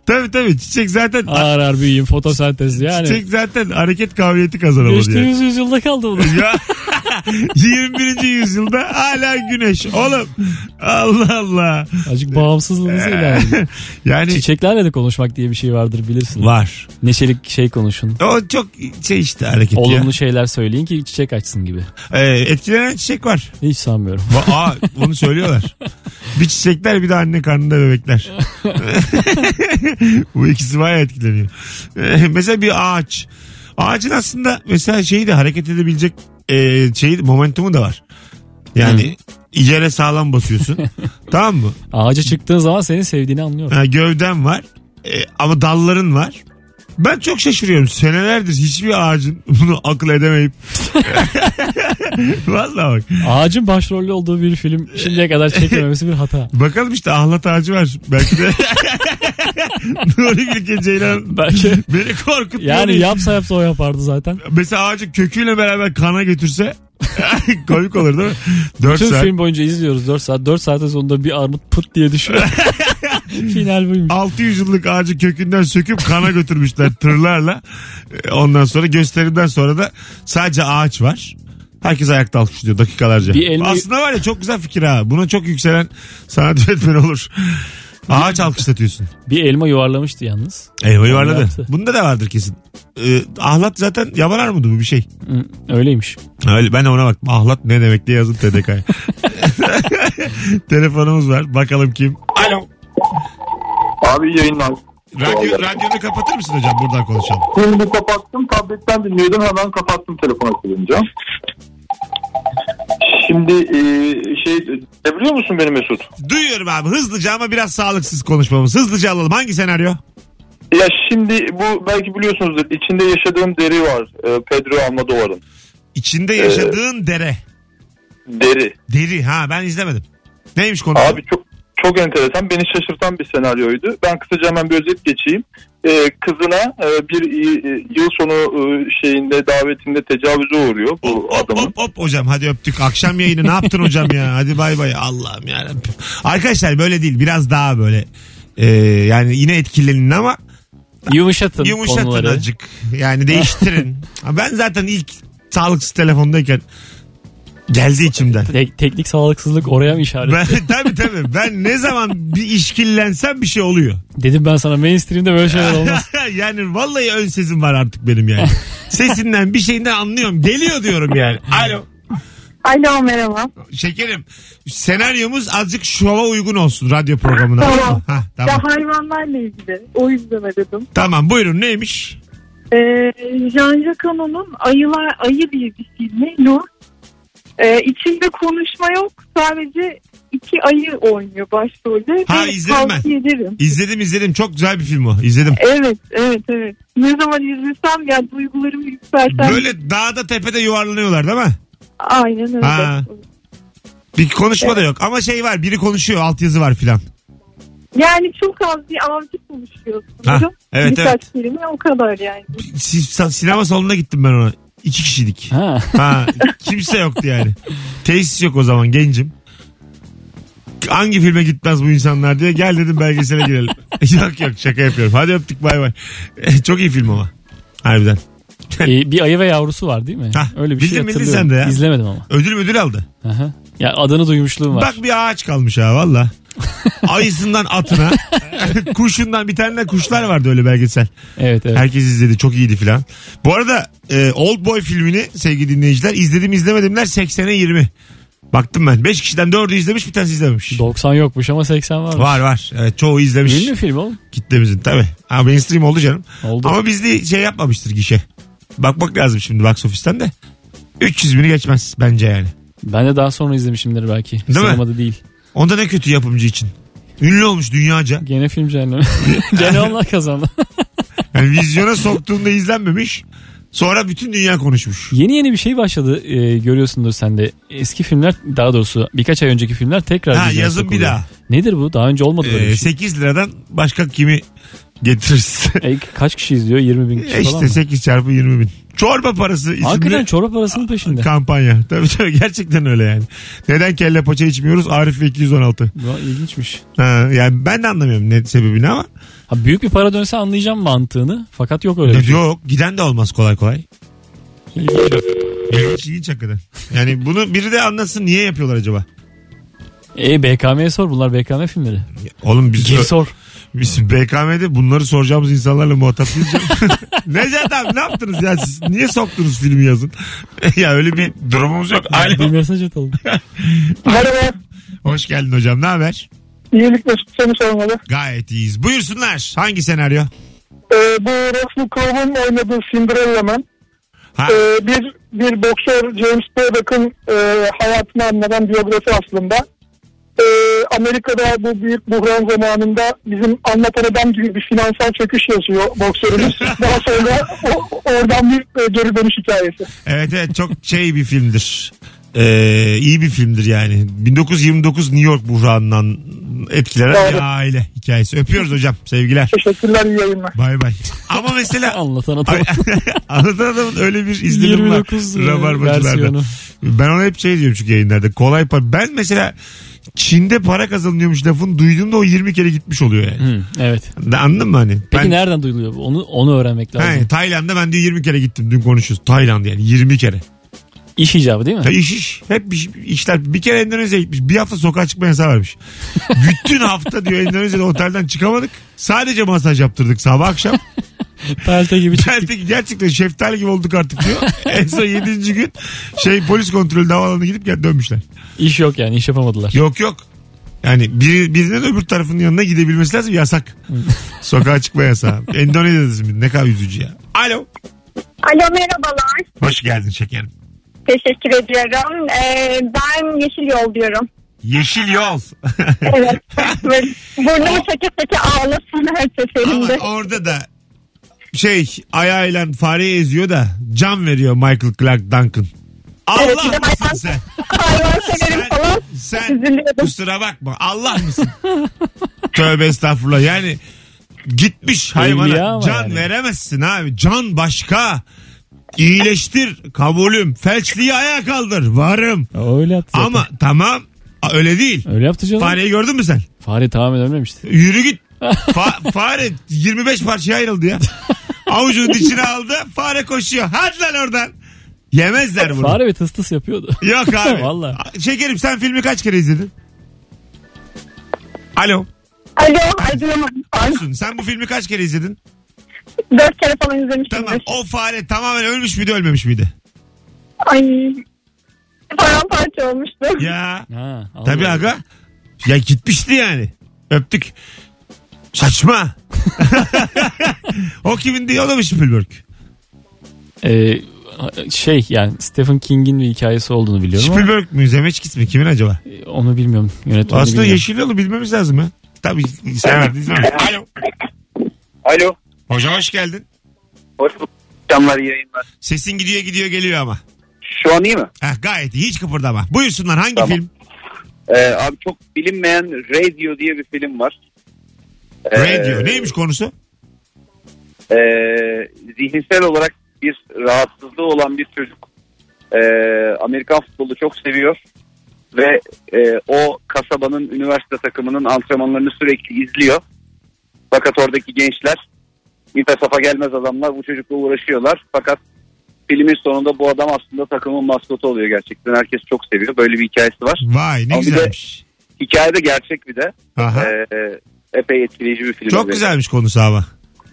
Tabii tabii çiçek zaten
ağır ağır büyüyeyim fotosentez yani.
çiçek zaten hareket kabiliyeti kazanamadı yani.
Geçtiğimiz yüzyılda kaldı bu.
Ya 21. yüzyılda hala güneş oğlum. Allah Allah.
Azıcık bağımsızlığınızı ilerleyin.
yani
Çiçeklerle de konuşmak diye bir şey vardır bilirsin.
var.
Neşelik şey konuşun.
O çok şey işte hareket
Olumlu
ya.
şeyler söyleyin ki çiçek açsın gibi.
Ee, etkilenen çiçek var.
Hiç sanmıyorum.
Va- Aa, onu söylüyorlar. Bir çiçekler bir de anne karnında bebekler. Bu ikisi bayağı etkileniyor. Ee, mesela bir ağaç. Ağacın aslında mesela şeyi de hareket edebilecek e, şey momentumu da var. Yani yere sağlam basıyorsun. tamam mı?
Ağaca çıktığın zaman senin sevdiğini anlıyor.
Ha, gövden var E, ama dalların var. Ben çok şaşırıyorum. Senelerdir hiçbir ağacın bunu akıl edemeyip. Vallahi bak.
Ağacın başrolü olduğu bir film şimdiye kadar çekilmemesi bir hata.
Bakalım işte ahlat ağacı var. Belki de Nuri Bilge Ceylan
Belki
beni korkuttu.
yani yapsa yapsa o yapardı zaten.
Mesela ağacı köküyle beraber kana götürse komik olur değil mi? 4
Tüm
saat.
film boyunca izliyoruz 4 saat. 4 saatin sonunda bir armut pıt diye düşüyor. Final buymuş.
600 yıllık ağacı kökünden söküp kana götürmüşler tırlarla. Ee, Ondan sonra gösterimden sonra da sadece ağaç var. Herkes ayakta alkışlıyor dakikalarca.
Bir elma-
Aslında var ya çok güzel fikir ha. Buna çok yükselen sanat yönetmeni olur. Ağaç alkışlatıyorsun.
Bir elma yuvarlamıştı yalnız.
Elma yuvarladı.
yaptı.
Bunda da vardır kesin. Ee, ahlat zaten yaban armudu bu bir şey.
Hı, Öyleymiş.
Öyle, ben ona baktım. Ahlat ne demek diye yazdım TDK'ya. Telefonumuz var. Bakalım kim?
Alo. Abi iyi yayınlar.
Radyo, radyonu kapatır mısın hocam? Buradan konuşalım.
Şimdi kapattım tabletten dinliyordum hemen kapattım telefon açılınca. Şimdi e, şey e, biliyor musun beni Mesut?
Duyuyorum abi hızlıca ama biraz sağlıksız konuşmamız. Hızlıca alalım. Hangi senaryo?
Ya şimdi bu belki biliyorsunuzdur içinde yaşadığım deri var. E, Pedro Almodovar'ın.
İçinde yaşadığın dere.
Deri.
Deri. Ha ben izlemedim. Neymiş konu?
Abi çok çok enteresan beni şaşırtan bir senaryoydu. Ben kısaca hemen bir özet geçeyim. E, kızına e, bir e, yıl sonu e, şeyinde davetinde tecavüze uğruyor bu
Hop, hop,
adamın.
hop, hop hocam hadi öptük. Akşam yayını ne yaptın hocam ya? Hadi bay bay. Allah'ım yarabbim. Arkadaşlar böyle değil. Biraz daha böyle. Ee, yani yine etkilenin ama
Yumuşatın,
yumuşatın
konuları.
azıcık. Yani değiştirin. Ha, ben zaten ilk sağlıksız telefondayken geldi içimden.
Te- teknik sağlıksızlık oraya mı işaret?
Ben, tabii tabii. Ben ne zaman bir işkillensem bir şey oluyor.
Dedim ben sana mainstream'de böyle şeyler olmaz.
yani vallahi ön sesim var artık benim yani. Sesinden bir şeyinden anlıyorum. Geliyor diyorum yani. Alo.
Alo merhaba.
Şekerim senaryomuz azıcık şova uygun olsun radyo programına.
Tamam.
Ha,
Ya
tamam.
hayvanlarla ilgili. O yüzden aradım.
tamam buyurun neymiş?
Ee, Jean Jacquemin'in Ayılar Ayı diye bir filmi. Nur. Ee, içinde konuşma yok. Sadece iki ayı oynuyor başrolde.
Ha,
Ve
izledim ben.
tavsiye ederim.
İzledim izledim çok güzel bir film o izledim.
Evet evet evet. Ne zaman izlesem ya duygularımı yükselten.
Böyle dağda tepede yuvarlanıyorlar değil mi?
Aynen öyle.
Ha. Bir konuşma da yok ama şey var biri konuşuyor altyazı var filan.
Yani çok az bir avcı konuşuyorsunuz.
Ha, evet,
Birkaç kelime o kadar yani.
Si- Sinema salonuna gittim ben ona. İki kişiydik.
ha.
Ha, kimse yoktu yani. Tesis yok o zaman gencim. Hangi filme gitmez bu insanlar diye gel dedim belgesele girelim. yok yok şaka yapıyorum. Hadi öptük bay bay. Çok iyi film ama. Harbiden.
Ee, bir ayı ve yavrusu var değil mi?
Hah,
Öyle bir şey
bildin bildin
hatırlıyorum.
sen de ya.
İzlemedim ama.
Ödül ödül aldı.
Aha. Ya adını duymuşluğum var.
Bak bir ağaç kalmış ha valla. Ayısından atına. Kuşundan bir tane de kuşlar vardı öyle belgesel.
Evet evet.
Herkes izledi çok iyiydi filan. Bu arada e, Old Boy filmini sevgili dinleyiciler izledim izlemedimler 80'e 20. Baktım ben. 5 kişiden 4'ü izlemiş bir tanesi izlememiş.
90 yokmuş ama 80 var.
Var var. Evet, çoğu izlemiş.
Ünlü film oğlum.
Kitlemizin tabii. Ha, mainstream oldu canım.
Oldu.
Ama bizde şey yapmamıştır gişe. Bakmak lazım şimdi box office'ten de. 300 bini geçmez bence yani.
Ben de daha sonra izlemişimdir belki.
mi?
Sinemada değil.
Onda ne kötü yapımcı için. Ünlü olmuş dünyaca.
Gene film cehennemi. Gene onlar kazandı.
Yani vizyona soktuğunda izlenmemiş. Sonra bütün dünya konuşmuş.
Yeni yeni bir şey başladı e, görüyorsundur sen de. Eski filmler daha doğrusu birkaç ay önceki filmler tekrar
Ha,
vizyona
yazın bir
sokuluyor.
daha.
Nedir bu? Daha önce olmadı böyle bir
Ee,
şey.
8 liradan başka kimi getiririz?
E, kaç kişi izliyor? 20 bin kişi
E
falan mı?
işte 8 çarpı 20 bin. Çorba parası isimli
Hakikaten çorap parasının peşinde.
kampanya. Tabii tabii gerçekten öyle yani. Neden kelle paça içmiyoruz? Arif ve 216.
Ya, ilginçmiş.
Ha, yani ben de anlamıyorum ne sebebini ama.
Ha, büyük bir para dönse anlayacağım mantığını. Fakat yok öyle bir şey.
Yok giden de olmaz kolay kolay.
İlginç.
İlginç ilginç hakikaten. Yani bunu biri de anlasın niye yapıyorlar acaba?
E BKM'ye sor bunlar BKM filmleri.
Oğlum biz,
Gir sor.
biz BKM'de bunları soracağımız insanlarla muhatap değiliz. canım. Necdet abi ne yaptınız ya siz? Niye soktunuz filmi yazın? ya öyle bir durumumuz yok.
Bir
Alo.
mesaj atalım.
Merhaba.
Hoş geldin hocam ne haber?
İyilik Mesut seni sormalı.
Gayet iyiyiz. Buyursunlar. Hangi senaryo?
Ee, bu Russell Crowe'un oynadığı Cinderella Man.
Ha,
Ee, bir bir boksör James Braddock'ın e, hayatını anlatan biyografi aslında. Ee, Amerika'da bu büyük buhran zamanında bizim anlatan adam gibi bir finansal çöküş yaşıyor boksörümüz. Daha sonra o- oradan bir e, geri dönüş hikayesi.
evet evet çok şey bir filmdir. Ee, iyi bir filmdir yani. 1929 New York buhranından etkilenen bir
Doğru.
aile hikayesi. Öpüyoruz hocam. Sevgiler.
Teşekkürler iyi yayınlar.
Bay bay. Ama mesela
Anlatan atalım.
Ay, Anlatan adamın öyle bir izlenim var.
29
Rabarbacılarda.
e, versiyonu.
Ben ona hep şey diyorum çünkü yayınlarda. Kolay para. Ben mesela Çin'de para kazanılıyormuş lafını duyduğumda o 20 kere gitmiş oluyor yani.
Hı, evet.
Anladın mı hani?
Peki
ben,
nereden duyuluyor bu? Onu onu öğrenmek lazım.
He, Tayland'da ben diyor 20 kere gittim dün konuşuyoruz. Tayland yani 20 kere.
İş icabı değil mi?
Ya iş iş. Hep iş- işler. Bir kere Endonezya'ya gitmiş. Bir hafta sokağa çıkma yasağı varmış. Bütün hafta diyor Endonezya'da otelden çıkamadık. Sadece masaj yaptırdık sabah akşam.
Pelte gibi çıktı.
Belki gerçekten şeftali gibi olduk artık diyor. en son 7. gün şey polis kontrolü havalanına gidip gel dönmüşler.
İş yok yani iş yapamadılar.
Yok yok. Yani bir, birinin öbür tarafının yanına gidebilmesi lazım yasak. Sokağa çıkma yasağı. Endonezya'dasın ne kadar üzücü ya. Alo.
Alo merhabalar.
Hoş geldin şekerim.
Teşekkür ediyorum. Ee, ben Yeşil Yol diyorum.
Yeşil yol.
Evet. Ve Burnumu çeke çeke ağlasın her
Ama
seferinde.
orada da şey ayağıyla fareyi eziyor da can veriyor Michael Clark Duncan.
Evet,
Allah
bir de
mısın
hayvan-
sen?
Hayvan severim falan.
Sen
Üzülüyordum.
kusura bakma Allah mısın? Tövbe estağfurullah yani gitmiş
Evliya
hayvana
ama
can
yani.
veremezsin abi can başka iyileştir kabulüm felçliyi ayağa kaldır varım
Öyle yaptı zaten.
ama tamam a- öyle değil
Öyle yaptı canım. Fare,
fareyi gördün mü sen
tamamen ölmemişti.
yürü git Fa- fare 25 parçaya ayrıldı ya avucunun içine aldı fare koşuyor hadi lan oradan yemezler bunu
Fare bir tıs tıs yapıyordu.
Yok abi.
Vallahi.
A- Şekerim sen filmi kaç kere izledin? Alo.
Alo. acıyorum.
Olsun. Sen bu filmi kaç kere izledin?
Dört kere falan izlemişimdir.
Tamam. O fare tamamen ölmüş müydü ölmemiş miydi?
Ay. Paramparça olmuştu.
Ya.
Ha, anladım.
Tabii aga. Ya gitmişti yani. Öptük. Saçma. o kimindi? O da mı Spielberg?
Ee, şey yani Stephen King'in bir hikayesi olduğunu biliyorum ama
Spielberg mi? Zemeckis mi? Kimin acaba?
e, onu bilmiyorum. Yönetmeni
Aslında
bilmiyorum.
Yeşil Yol'u bilmemiz lazım ya. Tabii sen verdin. sen verdin. Alo.
Alo.
Hocam hoş geldin.
Hoş bulduk. Canlar yayınlar.
Sesin gidiyor gidiyor geliyor ama.
Şu an iyi mi?
Heh, gayet iyi. Hiç kıpırdama. Buyursunlar hangi
Tamam.
film?
Ee, abi çok bilinmeyen Radio diye bir film var. Ee,
Radio. Neymiş konusu?
e, zihinsel olarak bir rahatsızlığı olan bir çocuk e, Amerikan futbolu çok seviyor ve e, o kasabanın üniversite takımının antrenmanlarını sürekli izliyor. Fakat oradaki gençler ipe safa gelmez adamlar bu çocukla uğraşıyorlar. Fakat filmin sonunda bu adam aslında takımın maskotu oluyor gerçekten. Herkes çok seviyor. Böyle bir hikayesi var.
Vay ne
Ama bir de-
güzelmiş.
Hikaye de gerçek bir de.
Aha.
E, e, epey etkileyici bir film.
Çok
oluyor.
güzelmiş konusu ama.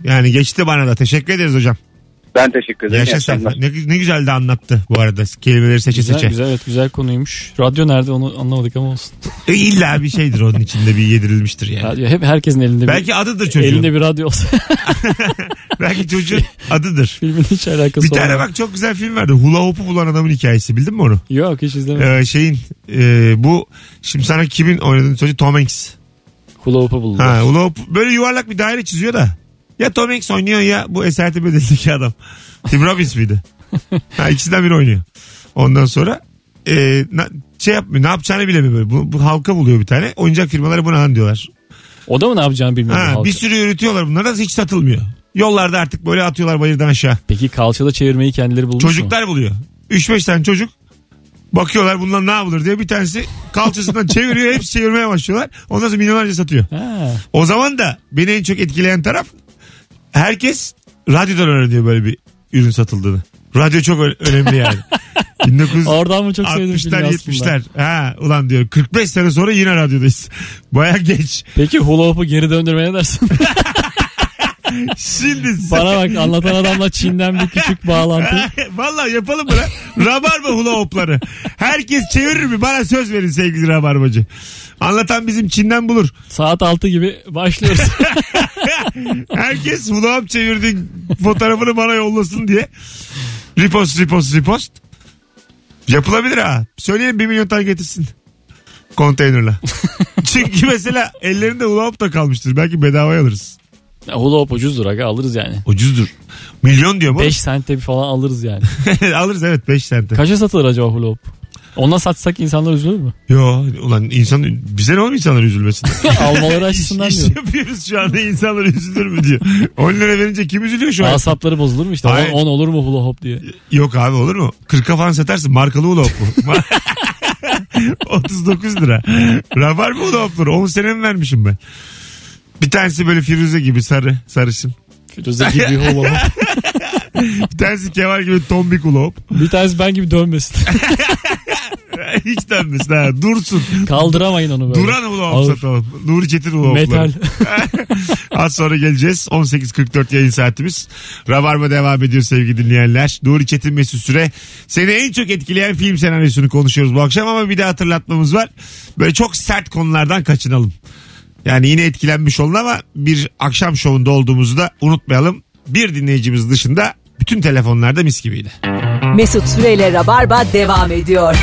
Yani geçti bana da. Teşekkür ederiz hocam.
Ben teşekkür ederim. İyi
Yaşasın.
akşamlar.
Ne, ne güzel de anlattı bu arada. Kelimeleri seçe
Güzel,
seçe.
güzel, evet, güzel konuymuş. Radyo nerede onu anlamadık ama olsun.
E, illa bir şeydir onun içinde bir yedirilmiştir yani.
Radyo hep herkesin elinde bir,
Belki adıdır çocuğun.
elinde bir radyo olsa
Belki çocuğun adıdır.
filmin hiç alakası
Bir tane
olmaz.
bak çok güzel film vardı. Hula hoop'u bulan adamın hikayesi. Bildin mi onu?
Yok hiç izlemedim.
Ee, şeyin e, bu şimdi sana kimin oynadığını söyleyeyim. Tom Hanks.
Hula hoop'u buldum.
Ha, hula hoop böyle yuvarlak bir daire çiziyor da. Ya Tom Hanks oynuyor ya bu Esaret Bedeli'ndeki adam. Tim Robbins miydi? Ha, ikisinden biri oynuyor. Ondan sonra e, na- şey yapmıyor ne yapacağını bilemiyor böyle. Bu, bu halka buluyor bir tane. Oyuncak firmaları buna han diyorlar.
O da mı ne yapacağını bilmiyor. bu
Ha,
halka.
bir sürü yürütüyorlar bunları da hiç satılmıyor. Yollarda artık böyle atıyorlar bayırdan aşağı.
Peki kalçada çevirmeyi kendileri bulmuş mu?
Çocuklar buluyor. 3-5 tane çocuk bakıyorlar bundan ne yapılır diye bir tanesi kalçasından çeviriyor hepsi çevirmeye başlıyorlar. Ondan sonra milyonlarca satıyor.
Ha,
O zaman da beni en çok etkileyen taraf herkes radyodan öğreniyor böyle bir ürün satıldığını. Radyo çok ö- önemli yani. 1900
Oradan mı çok sevdim filmi
60'lar
aslında?
70'ler. Ha ulan diyor 45 sene sonra yine radyodayız. Baya geç.
Peki hula hoop'u geri döndürmeye ne dersin?
Şimdi
Bana bak anlatan adamla Çin'den bir küçük bağlantı.
Vallahi yapalım mı lan? Rabarba hula hopları. Herkes çevirir mi? Bana söz verin sevgili Rabarbacı. Anlatan bizim Çin'den bulur.
Saat 6 gibi başlıyoruz.
Herkes hula hop çevirdi fotoğrafını bana yollasın diye. Repost, repost, repost. Yapılabilir ha. Söyleyelim bir milyon tane getirsin. Konteynerle. Çünkü mesela ellerinde hula hop da kalmıştır. Belki bedavaya alırız.
Ya hula hoop ucuzdur aga alırız yani.
Ucuzdur. Milyon diyor bu.
5 sente bir falan alırız yani.
alırız evet 5 sente.
Kaça satılır acaba hula hoop? Ona satsak insanlar üzülür mü?
Yo ulan insan bize ne olur insanlar üzülmesin.
Almaları
İş,
açısından
iş
diyorum.
yapıyoruz şu anda insanlar üzülür mü diyor. 10 lira verince kim üzülüyor şu an?
Asapları bozulur mu işte?
Hayır.
10 olur mu hula hoop diye.
Yok abi olur mu? 40 falan satarsın markalı ulop bu. 39 lira. Rabar mı uloptur? 10 sene mi vermişim ben? Bir tanesi böyle Firuze gibi sarı, sarışın.
Firuze gibi hula hoop.
Bir tanesi Kemal gibi tombik ulop.
Bir tanesi ben gibi dönmesin.
Hiç denmesin ha. Dursun.
Kaldıramayın onu böyle.
Duran ulop
Ağır.
satalım. Nuri Çetin ulopları.
Metal.
Az sonra geleceğiz. 18.44 yayın saatimiz. Rabarba devam ediyor sevgili dinleyenler. Nuri Çetin Mesut Süre. Seni en çok etkileyen film senaryosunu konuşuyoruz bu akşam ama bir de hatırlatmamız var. Böyle çok sert konulardan kaçınalım. Yani yine etkilenmiş olun ama bir akşam şovunda olduğumuzu da unutmayalım. Bir dinleyicimiz dışında bütün telefonlarda mis gibiydi.
Mesut Süreyle Rabarba devam ediyor.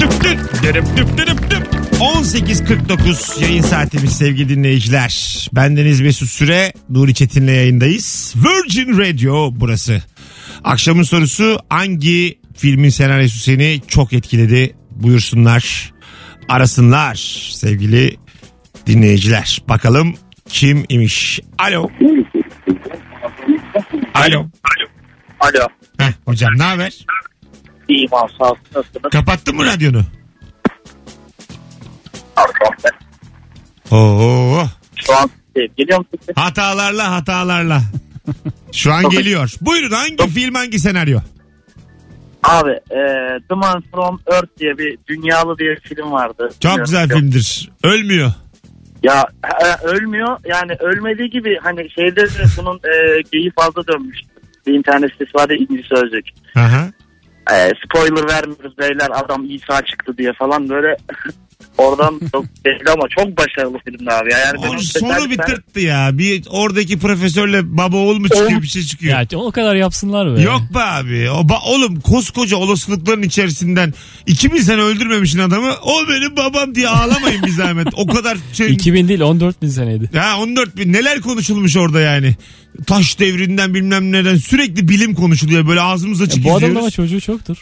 Düp düp, dürüp düp dürüp düp. 18.49 yayın saatimiz sevgili dinleyiciler. Bendeniz Mesut Süre, Nuri Çetin'le yayındayız. Virgin Radio burası. Akşamın sorusu hangi filmin senaryosu seni çok etkiledi? Buyursunlar, arasınlar sevgili dinleyiciler. Bakalım kim imiş? Alo. Alo.
Alo.
Heh, hocam ne haber?
İyiyim abi sağ olsun. Nasılsınız?
Kapattın mı radyonu? Oo.
Şu an e, geliyor musun?
Hatalarla hatalarla. Şu an geliyor. Buyurun hangi film hangi senaryo?
Abi e, The Man From Earth diye bir dünyalı diye bir film vardı.
Çok
Bilmiyorum.
güzel filmdir. Ölmüyor.
Ya e, ölmüyor yani ölmediği gibi hani şeyde de bunun e, geyi fazla dönmüş. Bir internet sitesi var ya İngiliz Sözlük.
Aha.
E, spoiler vermiyoruz beyler adam İsa çıktı diye falan böyle oradan çok belli ama çok başarılı filmdi abi. ya. Yani
Onun
benim
sonu
özellikle-
bir tırttı ya. Bir oradaki profesörle baba oğul mu çıkıyor bir şey çıkıyor.
Ya o kadar yapsınlar be.
Yok be abi. O ba- oğlum koskoca olasılıkların içerisinden 2000 sene öldürmemişsin adamı. O benim babam diye ağlamayın bir zahmet. O kadar şey.
2000 değil 14 bin seneydi.
Ya 14 bin neler konuşulmuş orada yani. Taş devrinden bilmem neden sürekli bilim konuşuluyor. Böyle ağzımız açık
Ya E, bu adamın
izliyoruz.
ama çocuğu çoktur.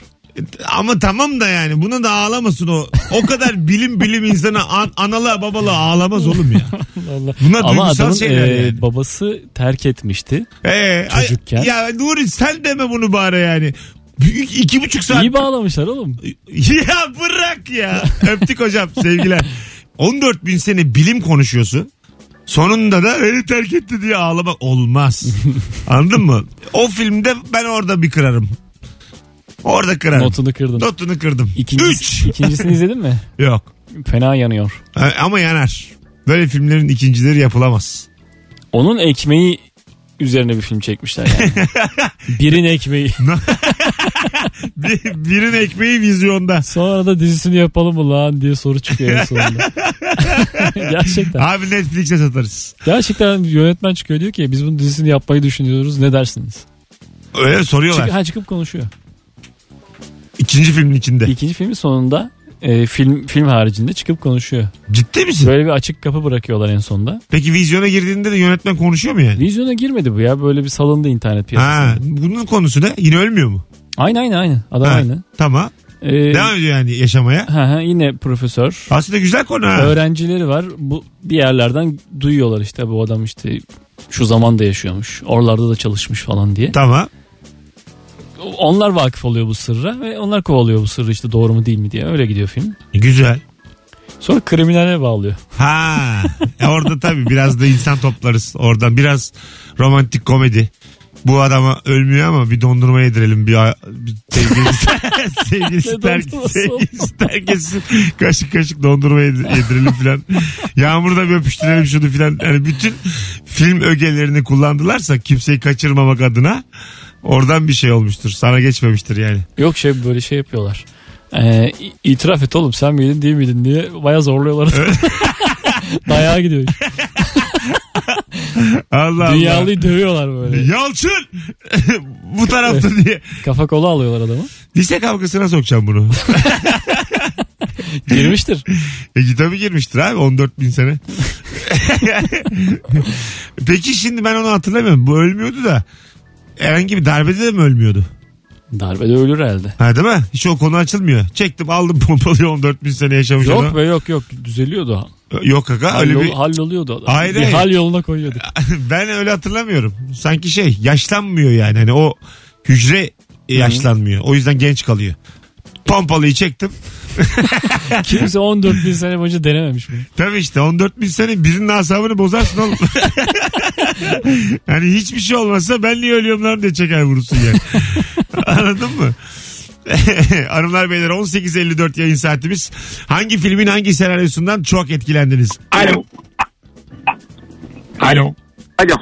Ama tamam da yani buna da ağlamasın o. O kadar bilim bilim insana an, analığa babalığa ağlamaz oğlum ya.
Vallahi.
Bunlar
Ama
duygusal
adamın
şeyler
e,
yani.
babası terk etmişti.
Ee, ay-
çocukken-
ya Nuri sen deme bunu bari yani. Büyük, iki buçuk saat.
İyi bağlamışlar oğlum.
ya bırak ya. Öptük hocam sevgiler. 14 bin sene bilim konuşuyorsun. Sonunda da beni terk etti diye ağlamak olmaz. Anladın mı? O filmde ben orada bir kırarım. Orada kırarım.
Notunu kırdın.
Notunu kırdım. 3 Üç.
İkincisi, ikincisini izledin mi?
Yok.
Fena yanıyor.
Ha, Ama yanar. Böyle filmlerin ikincileri yapılamaz.
Onun ekmeği üzerine bir film çekmişler yani. Birin ekmeği.
Bir- Birinin ekmeği vizyonda.
Sonra da dizisini yapalım mı lan diye soru çıkıyor en sonunda. gerçekten.
Abi Netflix'e satarız.
Gerçekten yönetmen çıkıyor diyor ki biz bunun dizisini yapmayı düşünüyoruz ne dersiniz?
Öyle soruyorlar.
Çık, ha, çıkıp konuşuyor.
İkinci filmin içinde.
İkinci filmin sonunda e, film film haricinde çıkıp konuşuyor.
Ciddi misin?
Böyle bir açık kapı bırakıyorlar en sonda.
Peki vizyona girdiğinde de yönetmen konuşuyor mu yani?
Vizyona girmedi bu ya. Böyle bir salındı internet piyasasına.
Ha, bunun konusu ne? Yine ölmüyor mu?
Aynı aynı aynı. Adam
Ha,
aynı.
Tamam.
Ee,
Devam ediyor yani yaşamaya.
ha, ha, yine profesör.
Aslında güzel konu ha.
Öğrencileri var. Bu bir yerlerden duyuyorlar işte bu adam işte şu zamanda yaşıyormuş. Oralarda da çalışmış falan diye.
Tamam.
Onlar vakıf oluyor bu sırra ve onlar kovalıyor bu sırrı işte doğru mu değil mi diye. Öyle gidiyor film.
Güzel.
Sonra kriminale bağlıyor.
Ha e orada tabii biraz da insan toplarız. Oradan biraz romantik komedi. Bu adama ölmüyor ama bir dondurma yedirelim. Bir, a- bir sevgilisi, sevgilisi,
Ne
terk,
dondurması
sevgilisi terk etsin. Kaşık kaşık dondurma yedi- yedirelim filan. Yağmurda bir öpüştürelim şunu filan. Yani bütün film ögelerini kullandılarsa kimseyi kaçırmamak adına oradan bir şey olmuştur. Sana geçmemiştir yani.
Yok şey böyle şey yapıyorlar. Ee, i- itiraf et oğlum sen miydin değil miydin diye baya zorluyorlar. Dayağa gidiyor.
Allah Allah.
Dünyalıyı dövüyorlar böyle.
Yalçın bu tarafta diye.
Kafa kola alıyorlar adamı.
Lise kavgasına sokacağım bunu.
Girmiştir.
E tabii girmiştir abi 14 bin sene. Peki şimdi ben onu hatırlamıyorum. Bu ölmüyordu da herhangi bir darbede de mi ölmüyordu?
Darbede ölür herhalde.
Ha değil mi? Hiç o konu açılmıyor. Çektim aldım pompalıyı 14 bin sene yaşamış
Yok
adam.
be yok yok düzeliyordu.
Yok kaka öyle
Hallol,
bir...
Halloluyordu adam.
Hayır,
bir
hayır.
hal yoluna koyuyordu.
ben öyle hatırlamıyorum. Sanki şey yaşlanmıyor yani. Hani o hücre yaşlanmıyor. O yüzden genç kalıyor. Pompalıyı çektim.
Kimse 14 bin sene boyunca denememiş bunu.
Tabii işte 14 bin sene birinin asabını bozarsın oğlum. yani hiçbir şey olmazsa ben niye ölüyorum lan diye çeker vurursun yani. Anladın mı? Hanımlar beyler 18.54 yayın saatimiz. Hangi filmin hangi senaryosundan çok etkilendiniz?
Alo.
Alo.
Alo.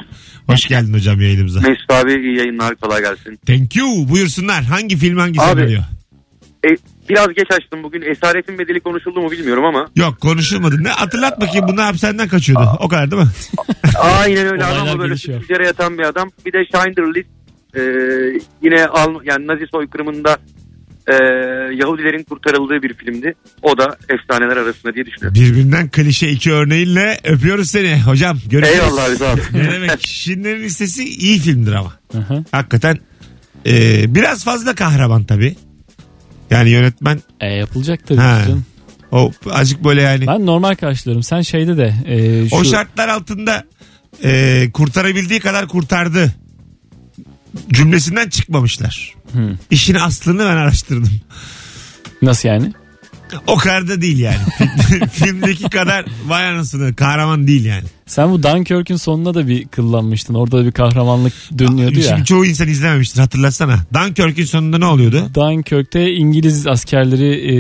Hoş geldin hocam yayınımıza.
Mesut abi iyi yayınlar kolay gelsin.
Thank you. Buyursunlar. Hangi film hangi
Abi.
senaryo?
E, biraz geç açtım bugün. Esaretin bedeli konuşuldu mu bilmiyorum ama.
Yok konuşulmadı. Ne hatırlat bakayım bunlar hapishaneden kaçıyordu. O kadar değil mi?
Aynen öyle
Olaylar
adam böyle
gelişiyor.
sütücere yatan bir adam. Bir de Schindler List e, yine Al yani Nazi soykırımında e, Yahudilerin kurtarıldığı bir filmdi. O da efsaneler arasında diye düşünüyorum.
Birbirinden klişe iki örneğinle öpüyoruz seni hocam. Görüşürüz.
Eyvallah Rıza abi.
Ne demek? Şirinlerin listesi iyi filmdir ama.
Aha.
Hakikaten e, biraz fazla kahraman tabii. Yani yönetmen
E, yapılacak tabii
Ha.
canım.
o azıcık böyle yani
Ben normal karşılarım. Sen şeyde de e, şu
o şartlar altında e, kurtarabildiği kadar kurtardı cümlesinden çıkmamışlar.
Hı.
İşin aslını ben araştırdım.
nasıl yani?
O kadar da değil yani. Film- Filmdeki kadar vay anasını kahraman değil yani.
Sen bu Dunkirk'ün sonuna da bir kıllanmıştın. Orada da bir kahramanlık dönüyordu
Şimdi
ya.
çoğu insan izlememiştir hatırlatsana. Dunkirk'ün sonunda ne oluyordu?
Dunkirk'te İngiliz askerleri e,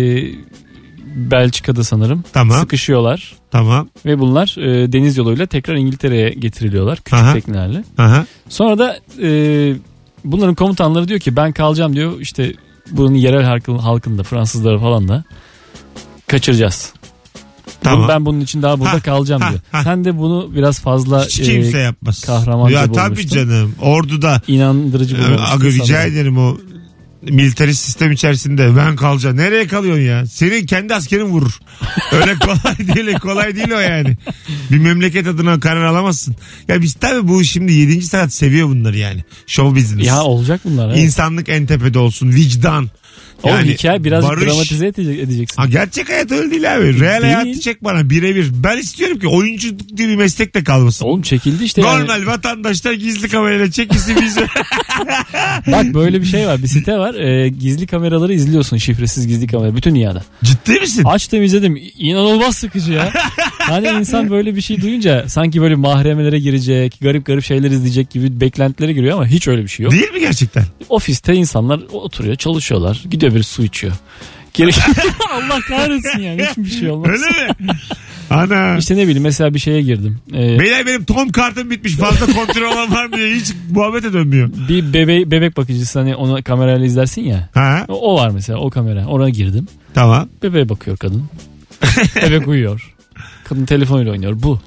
Belçika'da sanırım
Tamam.
sıkışıyorlar.
Tamam.
Ve bunlar e, deniz yoluyla tekrar İngiltere'ye getiriliyorlar küçük
Aha.
teknelerle.
Aha.
Sonra da e, bunların komutanları diyor ki ben kalacağım diyor işte bunun yerel halkın, halkında Fransızları falan da kaçıracağız.
Tamam.
Bunu- Ben bunun için daha burada
Ha,
kalacağım
ha,
diyor.
ha.
Sen de bunu biraz fazla
Hiç kimse
e,
yapmaz.
kahramanca
Ya tabii
bulmuştun.
canım. Orduda e,
inandırıcı bulmamıştın.
Ee, Aga rica
sanırım.
ederim o militarist sistem içerisinde ben kalacağım. Nereye kalıyorsun ya? Senin kendi askerin vurur. Öyle kolay değil, e, kolay değil o yani. Bir memleket adına karar alamazsın. Ya biz tabii bu şimdi 7. saat seviyor bunları yani. Show business.
Ya olacak bunlar. evet.
İnsanlık en tepede olsun. Vicdan.
Oğlum hikaye biraz
barış.
dramatize edecek, edeceksin.
Ha, gerçek hayat öyle değil abi. Real
Değil.
hayatı çek bana birebir. Ben istiyorum ki oyunculuk diye bir meslek de kalmasın.
Oğlum çekildi işte yani.
Normal vatandaşlar gizli kamerayla çekilsin bizi.
Bak böyle bir şey var. Bir site var. Ee, gizli kameraları izliyorsun. Şifresiz gizli kamera. Bütün dünyada.
Ciddi misin?
Açtım izledim. İnanılmaz sıkıcı ya. Hani insan böyle bir şey duyunca sanki böyle mahremelere girecek, garip garip şeyler izleyecek gibi beklentilere giriyor ama hiç öyle bir şey yok.
Değil mi gerçekten?
Ofiste insanlar oturuyor, çalışıyorlar. Gidiyor bir su içiyor. Gerek Allah kahretsin yani hiçbir şey olmaz.
Öyle mi? Ana.
İşte ne bileyim mesela bir şeye girdim. Ee,
Beyler benim Tom kartım bitmiş fazla kontrol olan var mı diye hiç muhabbete dönmüyor.
bir bebe bebek bakıcısı hani onu kamerayla izlersin ya.
Ha
O var mesela o kamera. Oraya girdim.
tamam.
Bebeğe bakıyor kadın. Bebek uyuyor. Kadın telefonuyla oynuyor. Bu.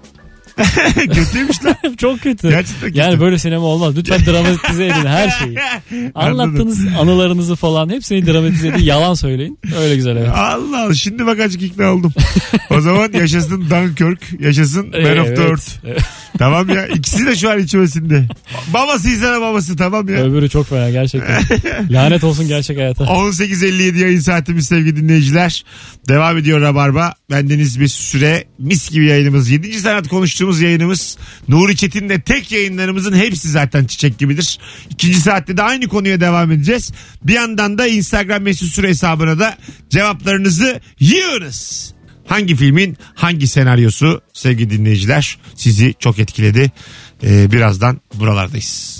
Kötüymüş lan.
Çok kötü.
Gerçekten kötü.
Yani böyle sinema olmaz. Lütfen dramatize edin her şeyi. Anlattığınız anılarınızı falan hepsini dramatize edin. Yalan söyleyin. Öyle güzel evet.
Allah Allah şimdi bak açık ikna oldum. O zaman yaşasın Dunkirk, yaşasın Man of the Earth.
Evet.
Tamam ya ikisi de şu an içmesinde. Babasıysa da babası tamam ya.
Öbürü çok fena gerçekten. Lanet olsun gerçek hayata.
18.57 yayın saatimiz sevgili dinleyiciler. Devam ediyor Rabarba. Bendeniz bir süre mis gibi yayınımız. 7. sanat konuştuğumuz yayınımız. Nuri Çetin'le tek yayınlarımızın hepsi zaten çiçek gibidir. İkinci saatte de aynı konuya devam edeceğiz. Bir yandan da Instagram mesut süre hesabına da cevaplarınızı yığınız. Hangi filmin hangi senaryosu sevgili dinleyiciler sizi çok etkiledi? Ee, birazdan buralardayız.